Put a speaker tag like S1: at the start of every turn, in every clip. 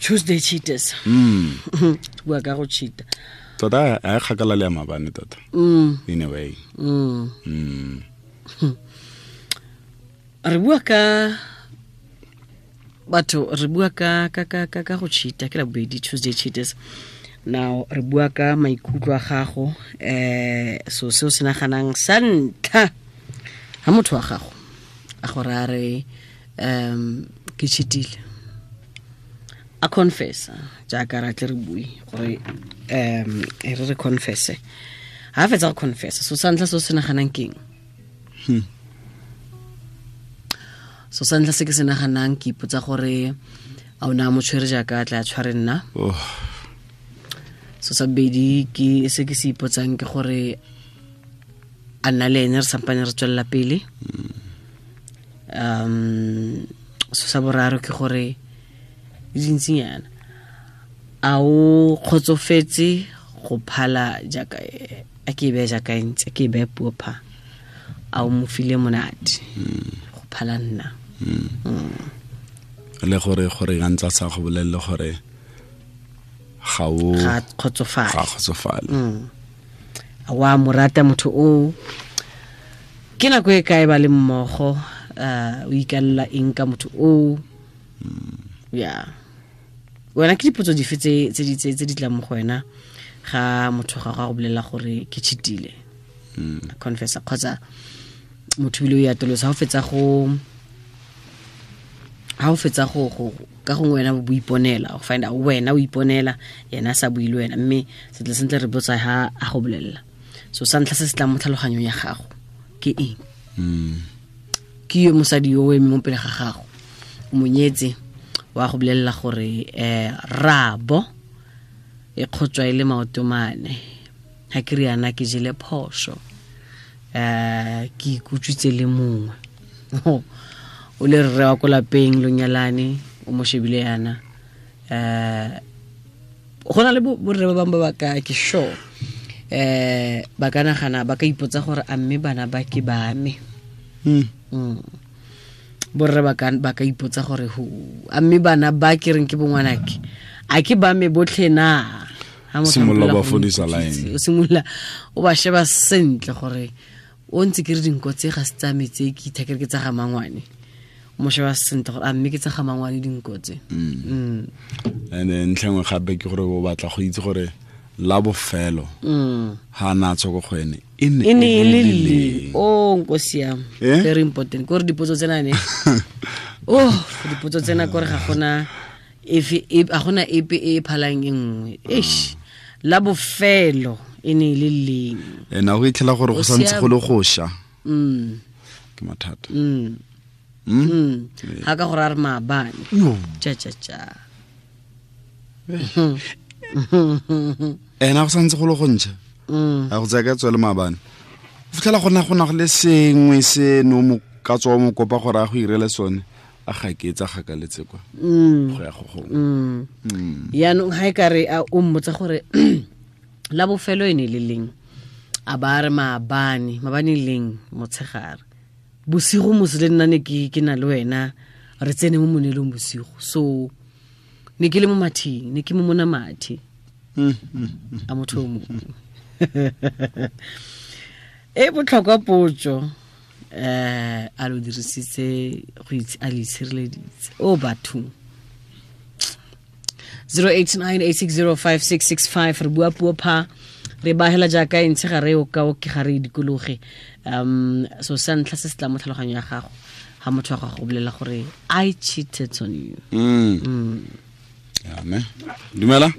S1: tuesday cheaters Mm-hmm. bua ka go cheata
S2: tota a e kgakala le ya mabane tota
S1: Mm,
S2: in a way
S1: mm.
S2: Mm.
S1: re bua ka batho re bua ka ka ka ka ka go cheata ke la bobedi tuesday cheaters now re bua ka maikutlo a gago eh so se o se naganang sa ntlha ga motho wa gago a gore a re um ke cheatile a confessa jaaka ra tle re bue gore um e re re confesse ga a fetsa go confessa so sa ntlha se o se naganang keng so sa ntlha se ke se naganang ke ipotsa gore a o ne a mo tshwere jaaka a tla a tshware nna
S2: Oh,
S1: so sa bobedi ke se ke se ipotsang ke gore a nna le ene re sampane re tswelela pele um so sa boraro ke gore le dintsinyana a o kgotsofetse go phala jaaka e- a ke e beye jaaka e ntse a ke e beye puo pha a o mo file monate go phala nna
S2: le gore gore ga ntse a sa go bolelele gore ga o
S1: ga
S2: ga
S1: a kgotsofale
S2: kgotsofale
S1: Mm. a wa morata motho o ke nako e kae ba le mmogo um o ikalela eng ka motho o ya wena ke dipotso dife tse tse di tse- tse di tlang mo go wena ga motho ga go a go bolela gore ke cheatile a confessa kgotsa motho bile o iatolosa ga o fetsa go ha o fetsa go go ka gongwe wena bo iponela o find out wena o iponela yena a sa bue le wena mme sentle sentle re botsa ha a go bolelela so sa ntlha se se tlang mo tlhaloganyong ya gago ke eng
S2: Mm.
S1: ke yo mosadi yo o eme mo pele ga gago o monyetse wa go bolelela gore eh rabo e kgotswa e le maotomane ga ke riana ke jele phoso eh ke ikutswitse le mongwe o le rre wa ko lapeng lo nyalane o mo shebile yana eh go na le bo- borre ba bangwe ba ba ka ke sure eh ba ka nagana ba ka ipotsa gore a mme bana ba ke ba me
S2: Mm.
S1: Mm. borre ba ka ba ka ipotsa gore ho a mme bana ba ke reng ke bongwanake a ke ba me botlhe na Ha motho a
S2: Simolola
S1: mpolela
S2: ba
S1: gore
S2: fodisa
S1: nkukisitse,
S2: line.
S1: o simolola o ba sheba sentle gore o ntse ke re dinko tse ga se tsa metse ke itha kere ke tsa ga mangwane o mo sheba sentle gore a mme ke tsa ga mangwane dinko tse Mm.
S2: and then ntlhengwe gape ke gore o batla go itse gore la bofelo
S1: Mm.
S2: ga a na a tswa ko go ene e ne
S1: e ne e le le
S2: leng?
S1: o nko siam
S2: Eh?
S1: Oh, very important kore dipotso tsenane oh dipotso tsena kore ga gona efe e- ga gona epe e e phalang e nngwe eish la bofelo e ne e le leng
S2: ena go itlhela gore go
S1: O
S2: santse go le go sha
S1: Mm,
S2: ke mathata
S1: mm,
S2: Mm?
S1: mm. ga ka gore a re maabane
S2: Yo, Eh.
S1: jajaja
S2: ena go santse go le go ntšha
S1: Mm.
S2: a go tsaya ka tswa le maabane o fitlhela gona gona le sengwe seno mo- ka tswa mo kopa gore a go irele sone a ga ke tsa ga ka letse kwa
S1: Mm,
S2: go ya go gongwe
S1: mm.
S2: Mm.
S1: yaanong ga e kare a o mmotsa gore la bofelo e ne le leng a ba a re maabane maabane e leng motshegare bosigo mose le nnane ke ke na le wena re tsene mo monelong bosigo so ne ke le mo mathing ne ke mo mona mathe
S2: Mm, mm.
S1: a motho o mongwe e botlhokwa potso eh a lo dirisitse go itse a le itshireleditse o bathong 0898605665 re bua puo pha re bagela jaaka e ntshe ga re o ka o ke ga re e dikologe um so sa ntlha se se tla mo tlhaloganyo ya gago ga motho wa gago go bolela gore i cheated on you
S2: Mm. Ya, ne. dumela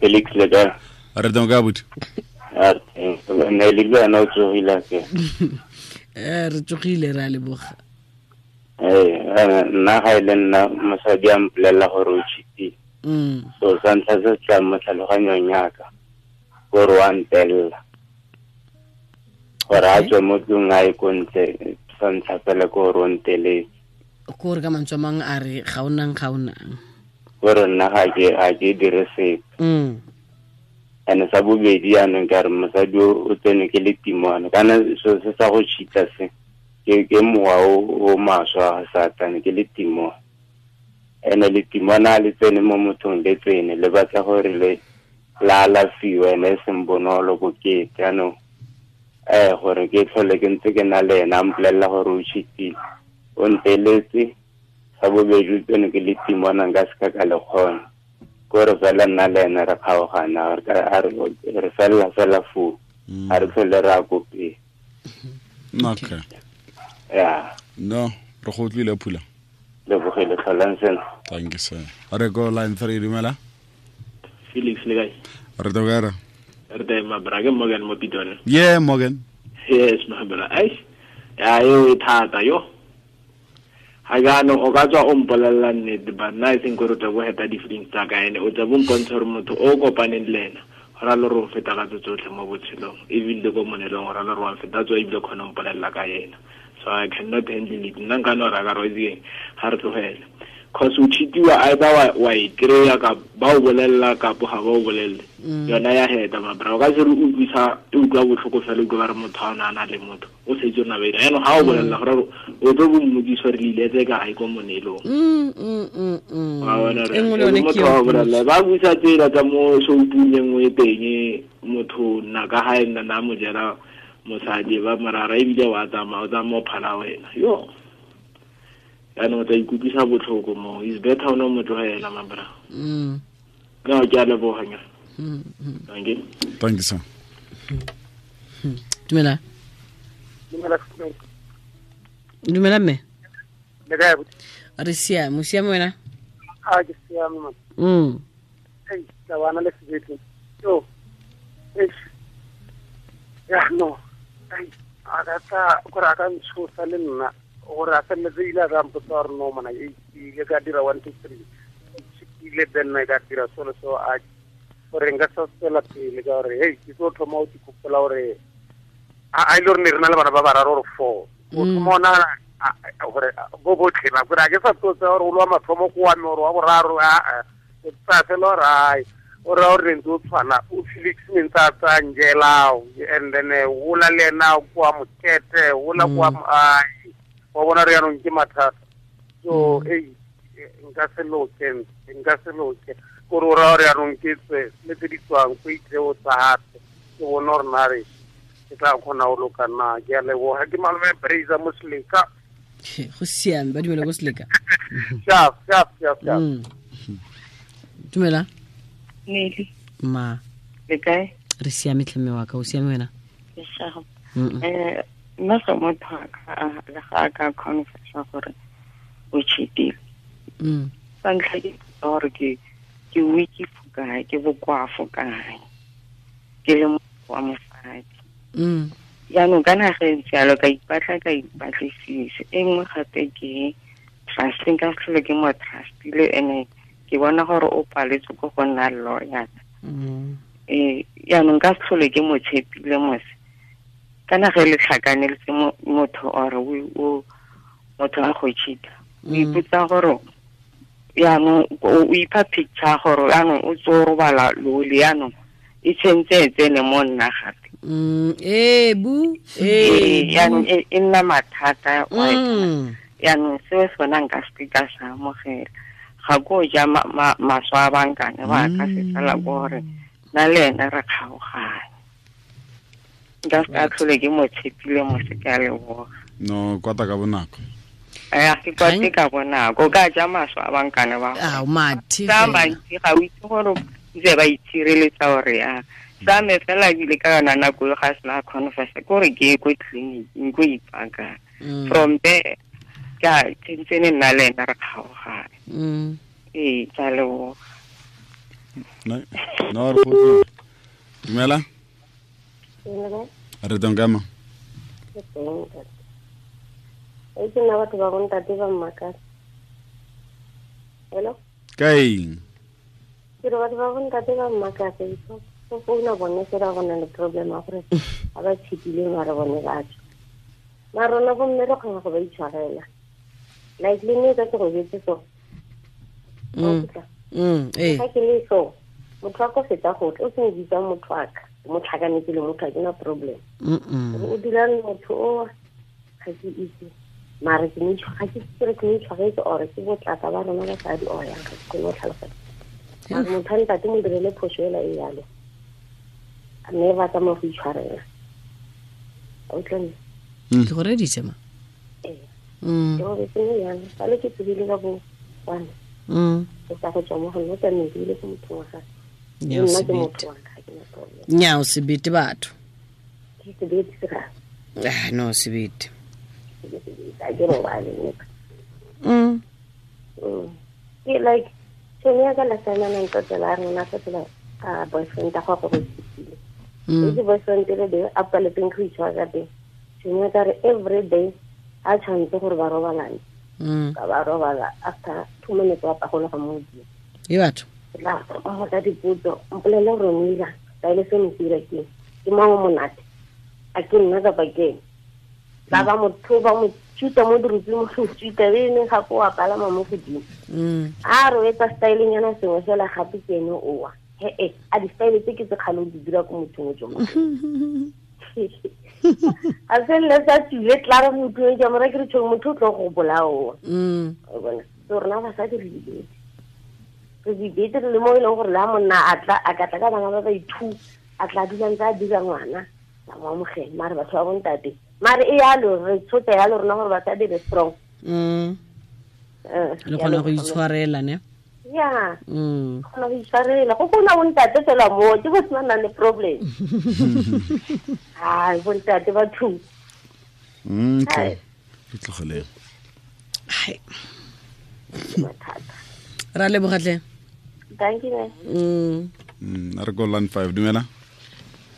S3: Felix le ka
S2: a re teng ka botho
S3: a ne le bua na o tsogile ke
S1: Eh, re tsogile re a leboga
S3: eh eh, nna ga ile nna mosadi a mpolelela gore o cheatile
S1: Mm,
S3: so sa ntlha se se tlang mo tlhaloganyong yaka gore wa ntelela gore a
S1: Okay.
S3: tswe mo tlong a ye ko ntle sa ntlha fela ke gore o nteletse
S1: ko gore ka mantswe a mangwe a re ga o nang ga o nang
S3: gore nna ga ke ga ke dire sepe
S1: Mm,
S3: ene sa bobedi yaanong ka re mosadi o o tsene ke le timwane kana so se sa go cheata se ke ke mowa o o maswa ga sa tane ke le timone ene le timona le tsene mo mothong le tsene le batla gore le la alafiwe ene e seng bonolo bokete jaanong eh gore ke tlhole ke ntse ke na le ena a mpolelela gore o cheatile o nteletse sa bobedi o tsene ke le timona nka seka ka le kgona kore fela nna le ene re kgaogana a re ka- a re- re felela fela foo ga re tlhole re a kopile
S2: okay
S3: ya
S2: no re go tlile phula
S3: lebogile tlholang sena
S2: thank you sir are go line 3 dumela
S4: Felix le kae
S2: re togera
S4: re teng mabra ke Morgan mo Pitone
S2: yeah morgan
S4: yes mabra ai ya yo e thata yo ha ga no o ka tswa o mpolella nnete but nna I think gore o tla bo heta di-feelings tsa ka ene o tla bo mpontsha gore motho o kopaneng le ena go ra le gore o feta ka tse tsotlhe mo botshelong ebile ko monelong go ra le gore wa feta tswa ebile o kgona go mpolelela ka ena so i cannot handle it nna nkano ra ka roetseng ga re tlogele cause o cheatiwa either wa, wa e kry-a ka ba o bolelela kapo ga ba o bolelele yona ya heta mabra o ka se re o utlwisa e utlwa botlhoko fela utlwa ba re motho ga o ne a na le motho o setse o nabeile yaanong ga
S1: Mm.
S4: o bolelela gore o tlo bo mmodisa re leile tse kae ko monelong
S1: Mm, mm, mm, mm.
S4: Wa bona
S1: e
S4: re-
S1: nngwe le
S4: re
S1: yone ke
S4: motho wa
S1: yone.
S4: bolella. ba buisa tsela tsa mo soupung e nngwe e teng e motho na ka ga nna na mo jela mosadi ba morara ebile wa tsamaya o tsamaya o phala wena yo yaanong o tla ikutlwisa botlhoko mo is better o ne o mo tlogela mabra
S1: Mm,
S4: nao ke a leboganya
S1: mm, mm.
S4: tanke
S2: thank you sir
S1: dumela
S5: dumela Setempe.
S1: dumela mme
S5: le kae abuti?
S1: re siame o siame wena
S5: a ke siame man
S1: Mm.
S5: ei tlabana le sebete yo eish ya no ai a ka tla gore a ka ntshosa le nna gore a feleletse ile a ka mpotsa gore no mona e ke ile ka dira one two three Ke ile then nna e ka dira so le so a gore nka sa tswela pele ka gore hei ke tlo thoma o dikopola gore a a ile gore ne re na le bana ba bararo or four o
S1: Mm.
S5: thoma o nagana a- a- gore a- bo botlhe na gore a ke sa tlotsa gore o le wa mathomo ko wame ore wa boraro aa o tsa fela gore ai o raya gore ne ntse o tshwana o felix ne ntse a tsa njelao and then eh, ola le ena kwa mokete ola kwa
S1: Mm.
S5: moai wa bona re yanong ke mathata so
S1: Mm.
S5: ei eh, nka se loke ntle, nka se loke gore o raya gore yanong ke tswe le tse di tswang ko itleo tsa gape ke bone gore nare ke tla kgona go loka na ke a leboga ke malome braser mo seleka
S1: He, go siame ba dumela ko seleka
S5: shaf shaf shaf shaf
S1: Mm. dumela
S6: Neli,
S1: ma
S6: le kae?
S1: re siame tlhame wa ka o siame wena
S6: Ke shago.
S1: Mm, mm.
S6: Eh, nna sa motho a ka- a- le ga a ka confessa gore o cheatile.
S1: Mm,
S6: Sa ntlha ke ipotsa gore ke ke wiki fo kae, ke bokoafo kae. Ke le motho wa mosadi.
S1: mm,
S6: Yaanong ka nageng jalo ka ipatla ka ipatlisisa. E nngwe gape ke trusting ka tlhole ke mo trustile ene ke bona gore o paletswe ko go nna lawyer.
S1: mm.
S6: eh yaanong ka se tlhole ke mo tshepile mose kana ge le tlhakane le se mo- motho ore o- o- motho a go cheata o
S1: Mm.
S6: iputsa gore yaanong o o ipha picture gore yaanong o tse o robala lole yaanong e tshwentse e tsene mo nna gape
S1: Mm, eh, bu
S6: Eh,
S1: eh,
S6: yaanong
S1: bu.
S6: e e nna mathata wa e tla.
S1: Mm,
S6: yaanong seo sona nka se ka sa amogela ga ko ja ma- ma- maswa a bankane ba ka se sala ko gore na le ene re kgaogane nka se ka tlhole ke mo tshepile mo se ka leboga
S2: no kwata ka bonako
S6: a ke kwate
S1: Kgang-
S6: ka bonako o ka ja maswa a bankane ba
S1: ah, o mathe
S6: sa
S1: fela.
S6: mantsi ga o itse gore ntse ba itshireletsa gore ya sa me fela ebile ka yona nako eo ga sena confessa ke gore ke ye ko tleliniking ko ipakang
S1: Mm,
S6: from there ka tsentsene nna le ena re kgaogane
S1: mm.
S6: ee ke a leboga
S2: no no re go tlile dumela re tongama
S7: e ke nna batho ba bontate ba mmakatsa hello
S2: kaeng
S7: ke re batho ba bontate ba mmakatsa itse go founa bone fela go na le problem ya gore ga ba tshepile mare bone batho mara rona bomme re kgona go ba itshwarela like le ne ka ke go jetse so
S1: Mm.
S7: ga
S1: Mm, eh.
S7: ke le so motho wa ko fetsa gotle o se meditsa motho aka mo tlhakanetse le motho a ke na problem
S1: Mm, mm.
S7: Gore o dira le motho o ga ke itse
S8: mara ke ne ga ke kere ke ne tshwagetse ore ke botlaka ba rona basadi or yang ga ke kone go tlhaloganya mara motho a ntate mo direle phoso ela e jalo mme ba tsamaya go itshwarela a utlwane
S1: ke go reditse ma
S8: ee
S1: Mm,
S8: ore Mm. Eh. ke ne jalo sale ke tsebile ka bo one
S1: mm,
S8: ke sa go tswa mo go nna ka ne ke ile ko mothong wa gage
S1: nya o
S8: nna ke
S1: sebete
S8: motho wa ka ke na problem
S1: nya o sebete batho
S8: ke sebetse se ra
S1: ah no sebete
S8: ke sebetse a ke robale nna
S1: Mm,
S8: ke like tšhono ya ka lasana na ntlotlela a rena fetela a boyfriend a gwago go tsitile
S1: mm,
S8: ese boyfriend le be a paletseng go itshwa ka teng tšhono ya ka re every day a tshwanetse gore ba robalane
S1: mm.
S8: ka ba robala after two minutes wa pagologa mo godimo
S1: e batho
S8: la mo ka dipotso mpolelela gore moila ka ele se motira keng ke mangwe monate a ke nna kapa keng ba ba motho ba mo tsuta mo diruping mo go tsuta be ene gape wa palama mo godimo
S1: Mm,
S8: a re o etsa styleng yana e sengwe fela gape ke ene owa ee a di-style tse ke sekgale o di dira ko mothong o tsoma a selele sa tsile tlare motho o jamora ke re tshong motho o tlo go bolaoa
S1: mm,
S8: o bona so rona basadi re dibete re dibete re le mo e leng gore le a monna a tla a ka tla ka bana ba ba ithu a tla dula ntse a dira ngwana la mo amogele maare batho ba bontate maare e yalo re tshotse yalo rona gore basadi re strong
S1: mm.
S8: Eh,
S1: le kgona
S8: yalo
S1: go
S8: re-
S1: itshwarela ne
S8: ya
S1: Mm.
S8: kgona go itshwarela go kona bontate fela moo ke bose ba nang le problem Ah, hai bontate batho
S2: Mm,
S8: Ai.
S2: ke- ke tlogele
S1: Hai,
S8: ke mathata
S1: ra lebogatlhe
S8: thank you ma'am.
S1: Mm.
S2: Mm, a re ko land five dumela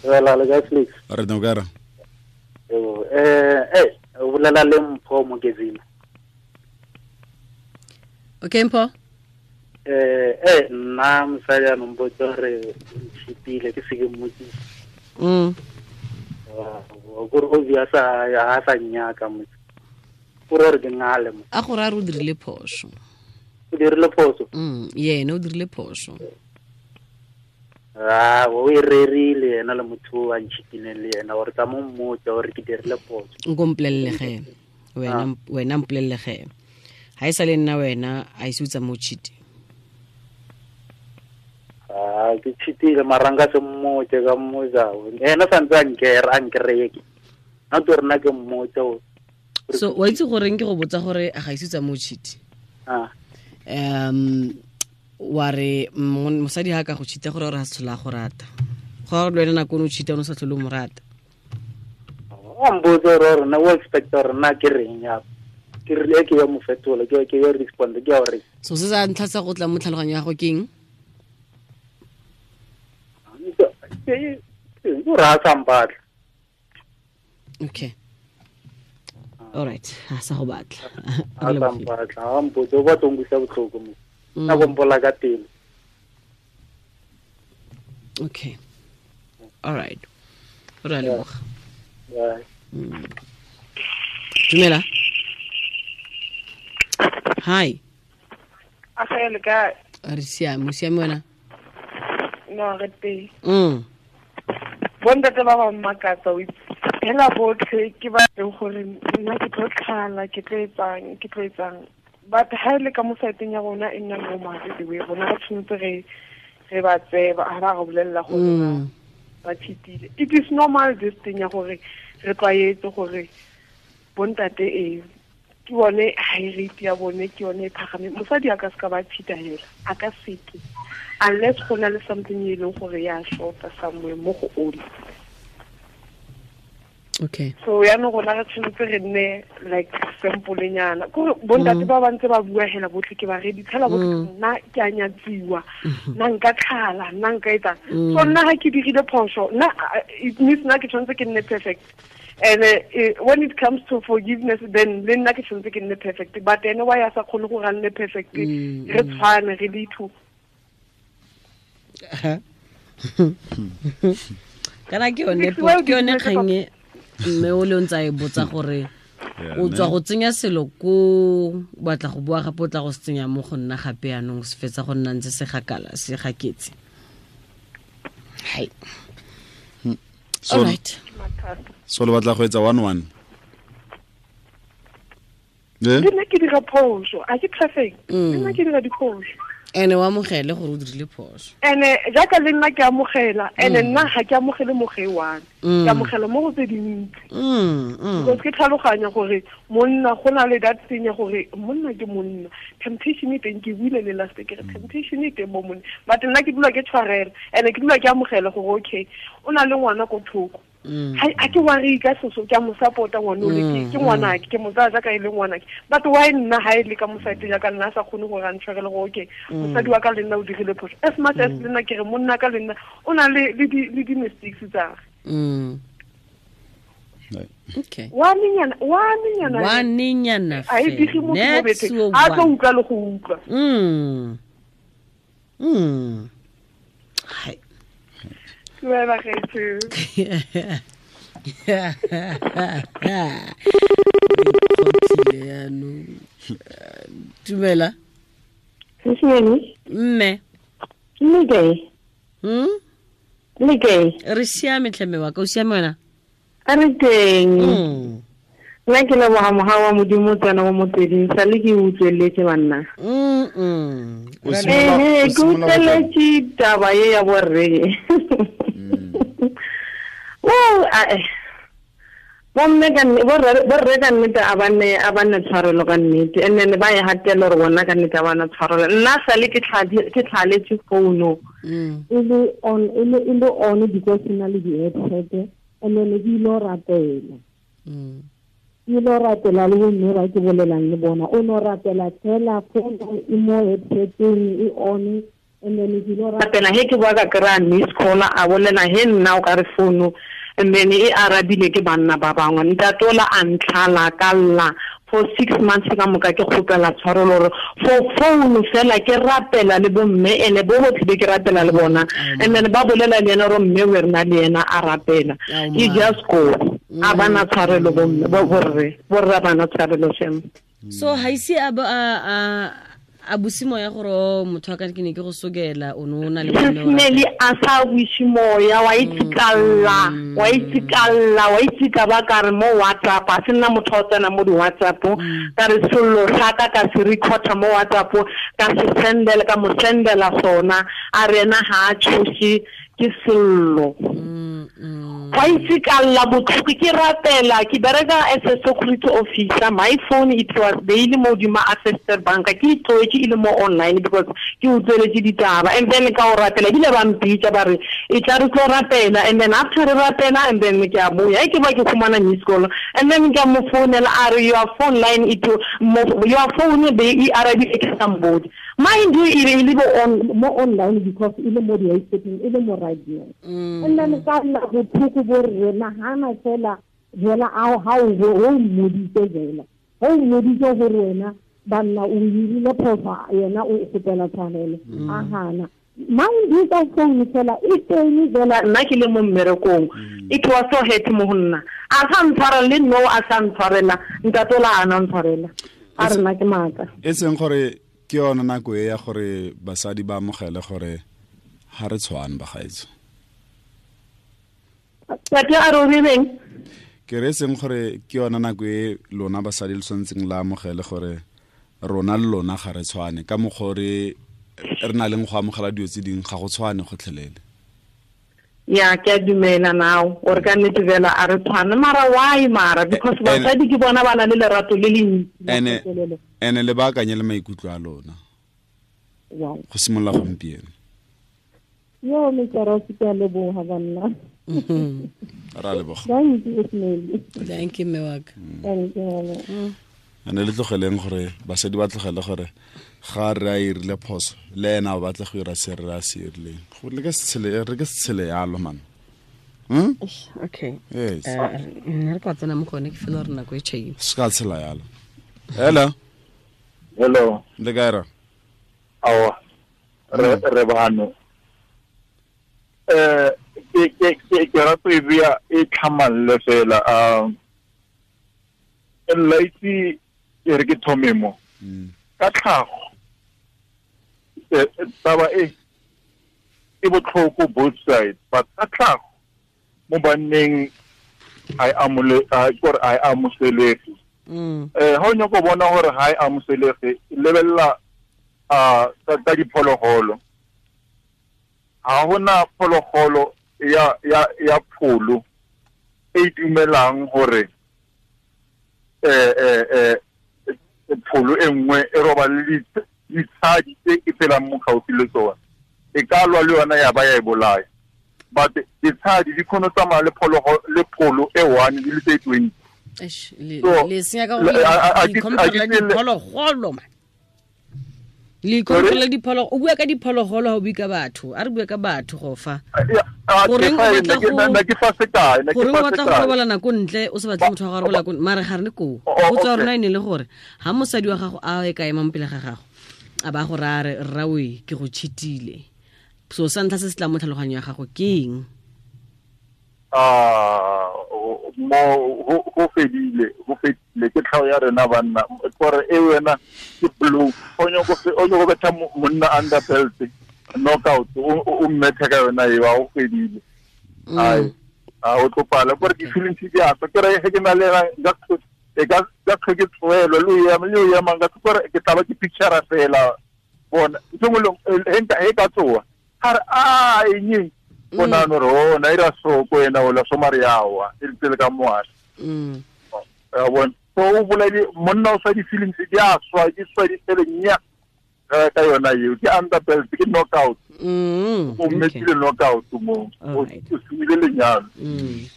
S9: fela le ka flix
S2: a re nokara
S9: eh eh o bolela le mpho mogezini
S1: okay mpho
S9: eh eh nna mosadi a nompotsa gore ntshitile ke se ke mmotsise
S1: Mm,
S9: kore obi a sa a sa nyaka mo kore re ke ngale mo
S1: a gore a re o dirile phoso
S9: o dirile phoso
S1: Mm, yena o dirile phoso
S9: a o e rerile ena le motho o a ntshitile le ena gore tsa mo mmotsa gore ke dirile phoso
S1: nko mpolelelege
S9: Ah.
S1: wena wena mpolelelege ga e sa le nna wena a ise o tsa mo cheat
S9: a Ah, ke tshitile maranga se mmotse ka mmotsa ena sa ntse a nkere a nkereke na to rena ke mmotse o
S1: so wa itse goreng ke go botsa gore a ga ise o tsa mo cheat
S9: a
S1: um wa re mm, mosadi ga ka go cheat-a gore ore ga se tlhola a go rata gore le wena nako o ne o cheat-a o ne o sa tlhole o mo rata
S9: wa mbotsa gore o rena o expecta gore na ke reng yapo ke rile ke ya mo fetola ke ke ya respond ke ya gore
S1: so se sa ntlha sa go tla mo tlhaloganyo ya go keng
S9: ke ke o ra sa mpatla
S1: okay alright a sa go batla
S9: a sa mpatla a mbotsa o batla ngwisa botlhoko mo
S1: Mm,
S9: na go mpola ka pelo
S1: okay alright o re a leboga
S9: Bye.
S1: Hmm. dumela hi
S10: a sa le ka
S1: a re siame o siame wena
S10: no re teng
S1: mm
S10: bontate Bon, ba E ba mmakatsa o itse. fela botlhe ke ba leng gore nna ke tlo tlhala ke tlo etsang ke tlo etsang but ha e le ka mo saeteng ya rona e nna no the way rona re tshwanetse re re ba tseba ha ba re bolelela gore ba-
S1: mm
S10: ba cheatile it is normal this thing ya gore re tlwaetse gore bontate e ke yone high rate ya bone ke yone e phagameng mosadi a ka se ka ba cheata hela a ka seke unless go na le something e leng gore ya shorta somewhere mo go one
S1: okay
S10: so yaanong rona re tshwanetse re nne like samplenyana kore bontate ba ba ntse ba bua hela botlhe ke ba redi tlhela botlhe
S1: Mm.
S10: nna ke a nyatsiwa nna nka tlhala nna nka etsang
S1: Mm.
S10: so nna ga ke dirile phoso nna uh, it means nna ke tshwanetse ke nne perfect and uh, eh, when it comes to forgiveness then le nna ke tshwanetse ke nne perfect but ene wa ya sa kgone gore a nne perfect
S1: Mm,
S10: re tshwane re le two
S1: kana ke yone
S10: Mixed well
S1: po- ke yone
S10: business
S1: kgang e mme o le o ntse a e botsa gore o tswa go tsenya selo ko o batla go bua gape o tla go se tsenya mo go nna gape yanong se fetsa go nna ntse se gakala se gaketse hai
S2: so Mm.
S1: all right
S2: so le batla go etsa one one Eh?
S10: le nna ke dira phoso a ke traffic le nna
S1: Mm.
S10: ke dira diphoso
S1: ene wa amogele gore o dirile phoso
S10: ene jaaka le nna ke amogela ene nna ga ke amogele moge one
S1: Mm.
S10: ke amogela mo go tse dintsi
S1: Mm, mm.
S10: because ke tlhaloganya gore monna go na le that thing ya gore monna ke monna temptation e teng ke buile le last ke re
S1: Mm.
S10: temptation e teng mo monna but nna ke dula ke tshwarela ene ke dula ke amogela gore okay o na le ngwana ko thoko
S1: Mm.
S10: Hai- ha ke worry ka soso ke a mo support-a ngwana ole
S1: Mm,
S10: ke- ke ngwanake ke mo tsaya jaaka e le ngwanake but why nna ha e le ka mosaete jaaka nna a sa kgone gore a ntshwarele gore okay mosadi wa ka le nna o dirile phoso as much as le nna ke re monna ka le nna o na le le di- le di-mistakes tsage
S1: Mm. okay
S10: wa menyana wa menyana
S1: wa nenyana
S10: a e dige motho mo
S1: That's
S10: betheng
S1: so
S10: a tlo
S1: one.
S10: utlwa le go utlwa
S1: Mm. Mm. Hai.
S10: Ke ba ba gaetsho.
S1: Re ikgothile yanong. dumela
S7: Mosimane,
S1: mme
S7: le kae?
S1: Hmm?
S7: Le kae?
S1: re siame tlheme wa ka o siame wena
S7: A re teng.
S1: Mm.
S7: Nna ke leboga moga wa modimo o tsena mo motsweding, sa le ke utsweletse banna.
S1: Mm, mm.
S2: O simolola- o
S7: Ehe,
S2: simolola
S7: ke
S2: go tsena.
S7: utlweletse taba ye ya borre.
S2: Mm.
S7: Wo, a- eh. bomme ka nne- borre borre ka nnete a bane a bane tshwarelo ka nnete and then ba e hatela gore bona ka nnete a bana tshwarelo nna sale ke tlhadi- ke tlhaletse founu
S1: Mm.
S7: e le on e le e le on because e na le di-headset and then ke ile o rapela
S1: Mm.
S7: ke ile o rapela le bomme ba ke bolelang le bona o ne o rapela fela phone e mo headseteng e on and then ke ile o rapela he ke bua ka kry-a miss caller a bolela he nna o ka re founu and then e arabile ke banna ba bangwe ntatola a ntlhala ka lla for six months ka moka ke kgopela tshwarelo gore for phone fela ke rapela le bomme ene bo botlhe be ke rapela le bona and then ba bolela le yena gore mme o rena le yena a rapela
S1: Ao
S7: ke
S1: ma.
S7: just go a bana tshwarelo bomme bo- borre borre a bana tshwarelo sem
S1: so ga ise a bo- a- a- a bosimo ya gore o, motho wa ka ke ne ke go sokela o ne o na le bone o
S7: sesmele a sa wisi moya wa itsikalla wa itsikalla wa itsika ba ka re mo whatsapp a se nna motho o tsena mo di-whatsapp ka re sollo saka ka se recorder mo whatsapp ka se sendela ka mo sendela sona a re ena ga a tshose ke sello
S1: Mm, mm.
S7: wa itse ka lla botlhoko ke rapela ke bereka as a security officer my phone it was daily mo dima accessor banka ke itoetse e le mo online because ke utsweletse ditaba and then ka o rapela ebile ba mpitsa ba re e tla re tlo rapela and then after re rapela and then ke a boya e ke ba ke khumana miskolo and then ke a mo founela a re your phone line it mo- your phone be e arabi e ke sambodi mind you e be e le bo on- mo online because e le mo di-headsetting e le mo radio
S1: Mm.
S7: e nna le ka nna botlhoko bo rena gana fela jela ao ga o bo o mmoditse jela o mmoditse gore wena banna o irile phofa yena o kgopela tshwanelo
S1: Mm.
S7: a gana mandi ka founu fela e tene fela nna ke le mo mmerekong it was so hurt mo go nna a sa ntshwarela le no a sa ntshwarela ntatola a na ntshwarela a rena ke maaka
S2: e seng gore ke yone nako e ya gore basadi ba amogele gore ha re tshwane ba gaetso
S7: tate a re o rileng
S2: ke re e seng gore ke yone nako e lona basadi le tshwanetseng la amogele gore rona le lona ga re tshwane ka mokgwa o re re na leng go amogela dio tse dingwe ga go tshwane gotlhelele
S7: ya ke a dumela nao ore ka nnete fela a re tshwane mara why mara because
S2: and-
S7: basadi ke bona ba na le lerato le le ntsi la
S2: Ene-
S7: petelelo.
S2: ene le baakanye le maikutlo a lona
S7: Wow.
S2: go simolola gompieno
S7: yo metserasi ke a leboga banna
S2: ra leboga
S7: thank you Ismail.
S1: thank you Mm. mme wa ka
S7: Thank you.
S2: ane le tlogeleng gore basadi ba tlogele gore ga re a irile phoso le ena o batla go ira se re a se irileng Go- le ka setshele- re ke setshele yalo man Hmm?
S1: okay
S2: Yes.
S1: Eh. nna re ka tsena mo gone ke fela gore nako e chaile
S2: se ka tshela yalo hello
S9: hello
S2: le kae ra
S9: awa re re bano eh ke ke ke ke ra pe bia e tlhamang le fela a laitse e re ke thome mo
S2: Mm.
S9: ka tlhago Eh, eh, taba e e botlhoko both sides but ka tlhago mo banneng a e amole a- ke gore a e amogelege
S1: Mm.
S11: eh ha o nyaka go bona gore ha e amoselege lebella a tsa tsa diphologolo ha hona phologolo ya ya ya pholo e itumelang gore eh eh eh eh, pholo e nngwe e roba le dit- ditshadi tse e phelang mo gaufi le tsona e ka lwa le yona ya ba ya e bolaya but ditshadi di kgone go tsamaya le phologo- le pholo e one di le tse twenty
S1: Eish, le-
S11: So,
S1: le senya ka
S11: le- a-
S1: gore
S11: a- a- a- a-
S1: ikompolela
S11: a- a-
S1: diphologolo man le ikompolela diphologolo o bua ka diphologolo ga o bui ka batho a re bua ka batho go fa Goreng o batla go-
S11: ke fa sekae na ke
S1: goreng o
S11: fa
S1: batla go
S11: sekae.
S1: robalana ko ntle o se batle motho wa go robalana ko ntle mare ga re le koo
S11: O- o-
S1: potso ya
S11: okay.
S1: rona e ne le gore ga mosadi wa gago a e ka emang pele ga gago a ba gore a re rraoe ke go cheatile so sa ntlha se se tla mo tlhaloganyo ya gago ke eng
S11: Ah, o- mo go- go fedile go fedile ke tlhao ya rena banna gore e wena ke blue o nyako fe- o nyako betha mo- monna under belt knockout o o- o mmethe ka yona e ba o fedile ai a o tlo pala gore ke feeling ke ya so ke re ge ke na le yena, nka tlo- e ka ka tlhoke tsoelo le o ya le e o ya mang ka gore ke tla ba ke picture fela bona e ntho mo long he nka- he ka tsoa a re a enye
S1: Mm.
S11: bona no re ona ira so ko ena ola so mari yawa e tsele ka moashi
S1: Mm.
S11: a bona so o bula di monna o sa di feelings di a swa di swa di Eh, tsele nya ka ka yona eo ke underbelt ke knockout
S1: Mm,
S11: o
S1: okay.
S11: mmetile knockout mo o o sile lenyalo
S1: Mm.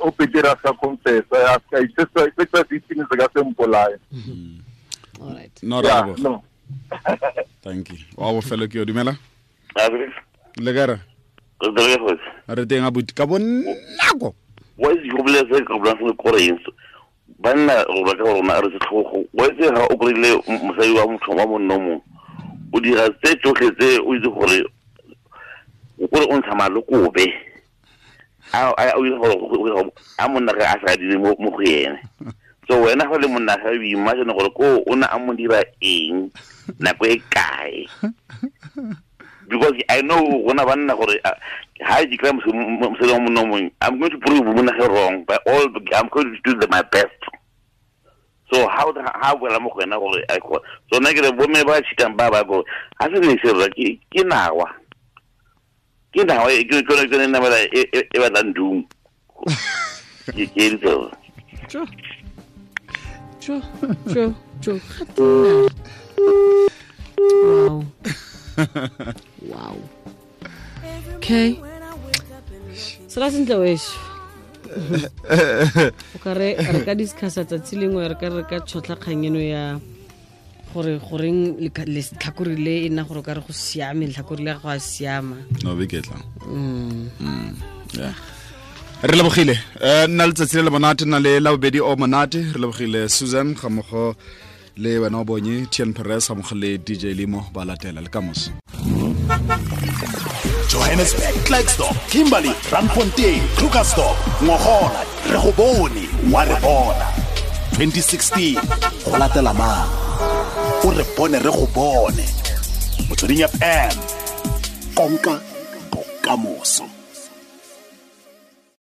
S11: o petera sa confessa ya ka itse sa itse sa ditshini ka sempolaya
S2: no
S11: Yeah,
S2: rabo
S11: eh. no
S2: thank you wa bofelo ke yo dumela
S12: Average,
S2: le ka re
S12: re dire go se.
S2: re teng abuti ka bonako
S12: Wa itse go bile se ka bolang se kore eng so. Banna go ba ka rona re se tlhogo. Wa itse ha o krile mosadi wa motho wa monna o mong. O dira tse tsotlhe tse o itse gore o kore o ntsha malokobe. A a o dira gore o- o- a monna ga a sa dire mo mo go yena. So wena go le monna ga o imagine gore ko o na a mo dira eng nako e kae. because I know when I banna gore uh, ha ke kra mosadi wa monna o mongwe I'm going to prove monna ge wrong by all I'm going to do the, my best so how the- how well I'm going gore I go so na ke re bomme ba chitang ba ba go ha se ne se re ke ke nawa ke nawa e ke tsone tsone na bala e e- e ba tlang dung ke ke ntse
S1: Tjo. Tjo, tjo, tjo. Ga tena. Wow. Wow. Okay. Sela sentle weso. o ka re re ka discussa tsatsi lengwe re ka re ka tšhotlha kgang eno ya gore goreng leka- letlhakore le e nna gore o ka re go siame letlhakore le ga go a siama
S2: no e be ke tlang
S1: Mm.
S2: Yeah. re lebogile Eh, nna letsatsi le le monate nna le la bobedi o monate re lebogile susan ga mogo le wena o bonye tian perez ga mogo le dj limo ba latela le kamoso
S13: johannesburg clarkstop kimberley ramfontein krugerstop ngogola re go bone wa re bona 2016 go latela mang o re bone re go bone motsweding fm konka bokamoso